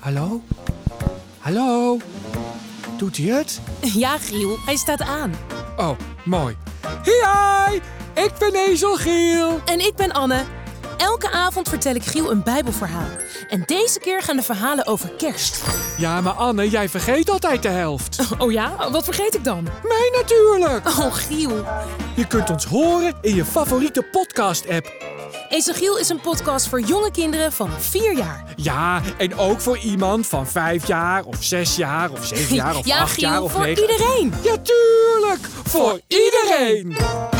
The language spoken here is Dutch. Hallo? Hallo? Doet hij het? Ja, Giel, hij staat aan. Oh, mooi. Hi, ik ben Ezel Giel. En ik ben Anne. Elke avond vertel ik Giel een Bijbelverhaal. En deze keer gaan de verhalen over kerst. Ja, maar Anne, jij vergeet altijd de helft. Oh ja, wat vergeet ik dan? Mij natuurlijk. Oh, Giel. Je kunt ons horen in je favoriete podcast-app. Ezel Giel is een podcast voor jonge kinderen van 4 jaar. Ja, en ook voor iemand van vijf jaar of zes jaar of zeven jaar of ja, acht Giel, jaar of voor negen. iedereen. Ja, tuurlijk. Voor iedereen.